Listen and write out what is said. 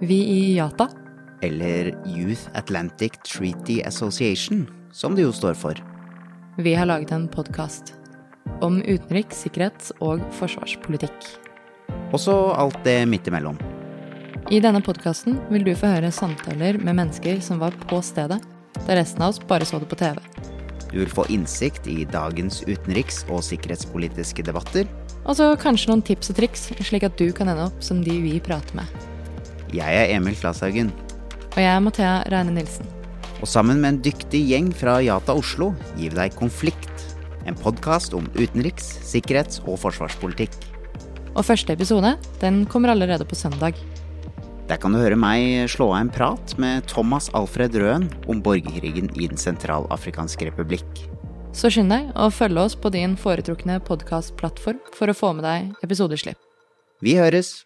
Vi i Yata. Eller Youth Atlantic Treaty Association, som det jo står for. Vi har laget en podkast om utenriks-, sikkerhets- og forsvarspolitikk. Og så alt det midt imellom. I denne podkasten vil du få høre samtaler med mennesker som var på stedet, der resten av oss bare så det på TV. Du vil få innsikt i dagens utenriks- og sikkerhetspolitiske debatter. Og så Altså, kanskje noen tips og triks, slik at du kan ende opp som de vi prater med. Jeg er Emil Slashaugen, Og jeg er Mathea Reine Nilsen. og sammen med en dyktig gjeng fra Yata Oslo gir vi deg Konflikt. En podkast om utenriks-, sikkerhets- og forsvarspolitikk. Og første episode den kommer allerede på søndag. Der kan du høre meg slå av en prat med Thomas Alfred Røen om borgerkrigen i Den sentralafrikanske republikk. Så skynd deg å følge oss på din foretrukne podkastplattform for å få med deg episodeslipp. Vi høres!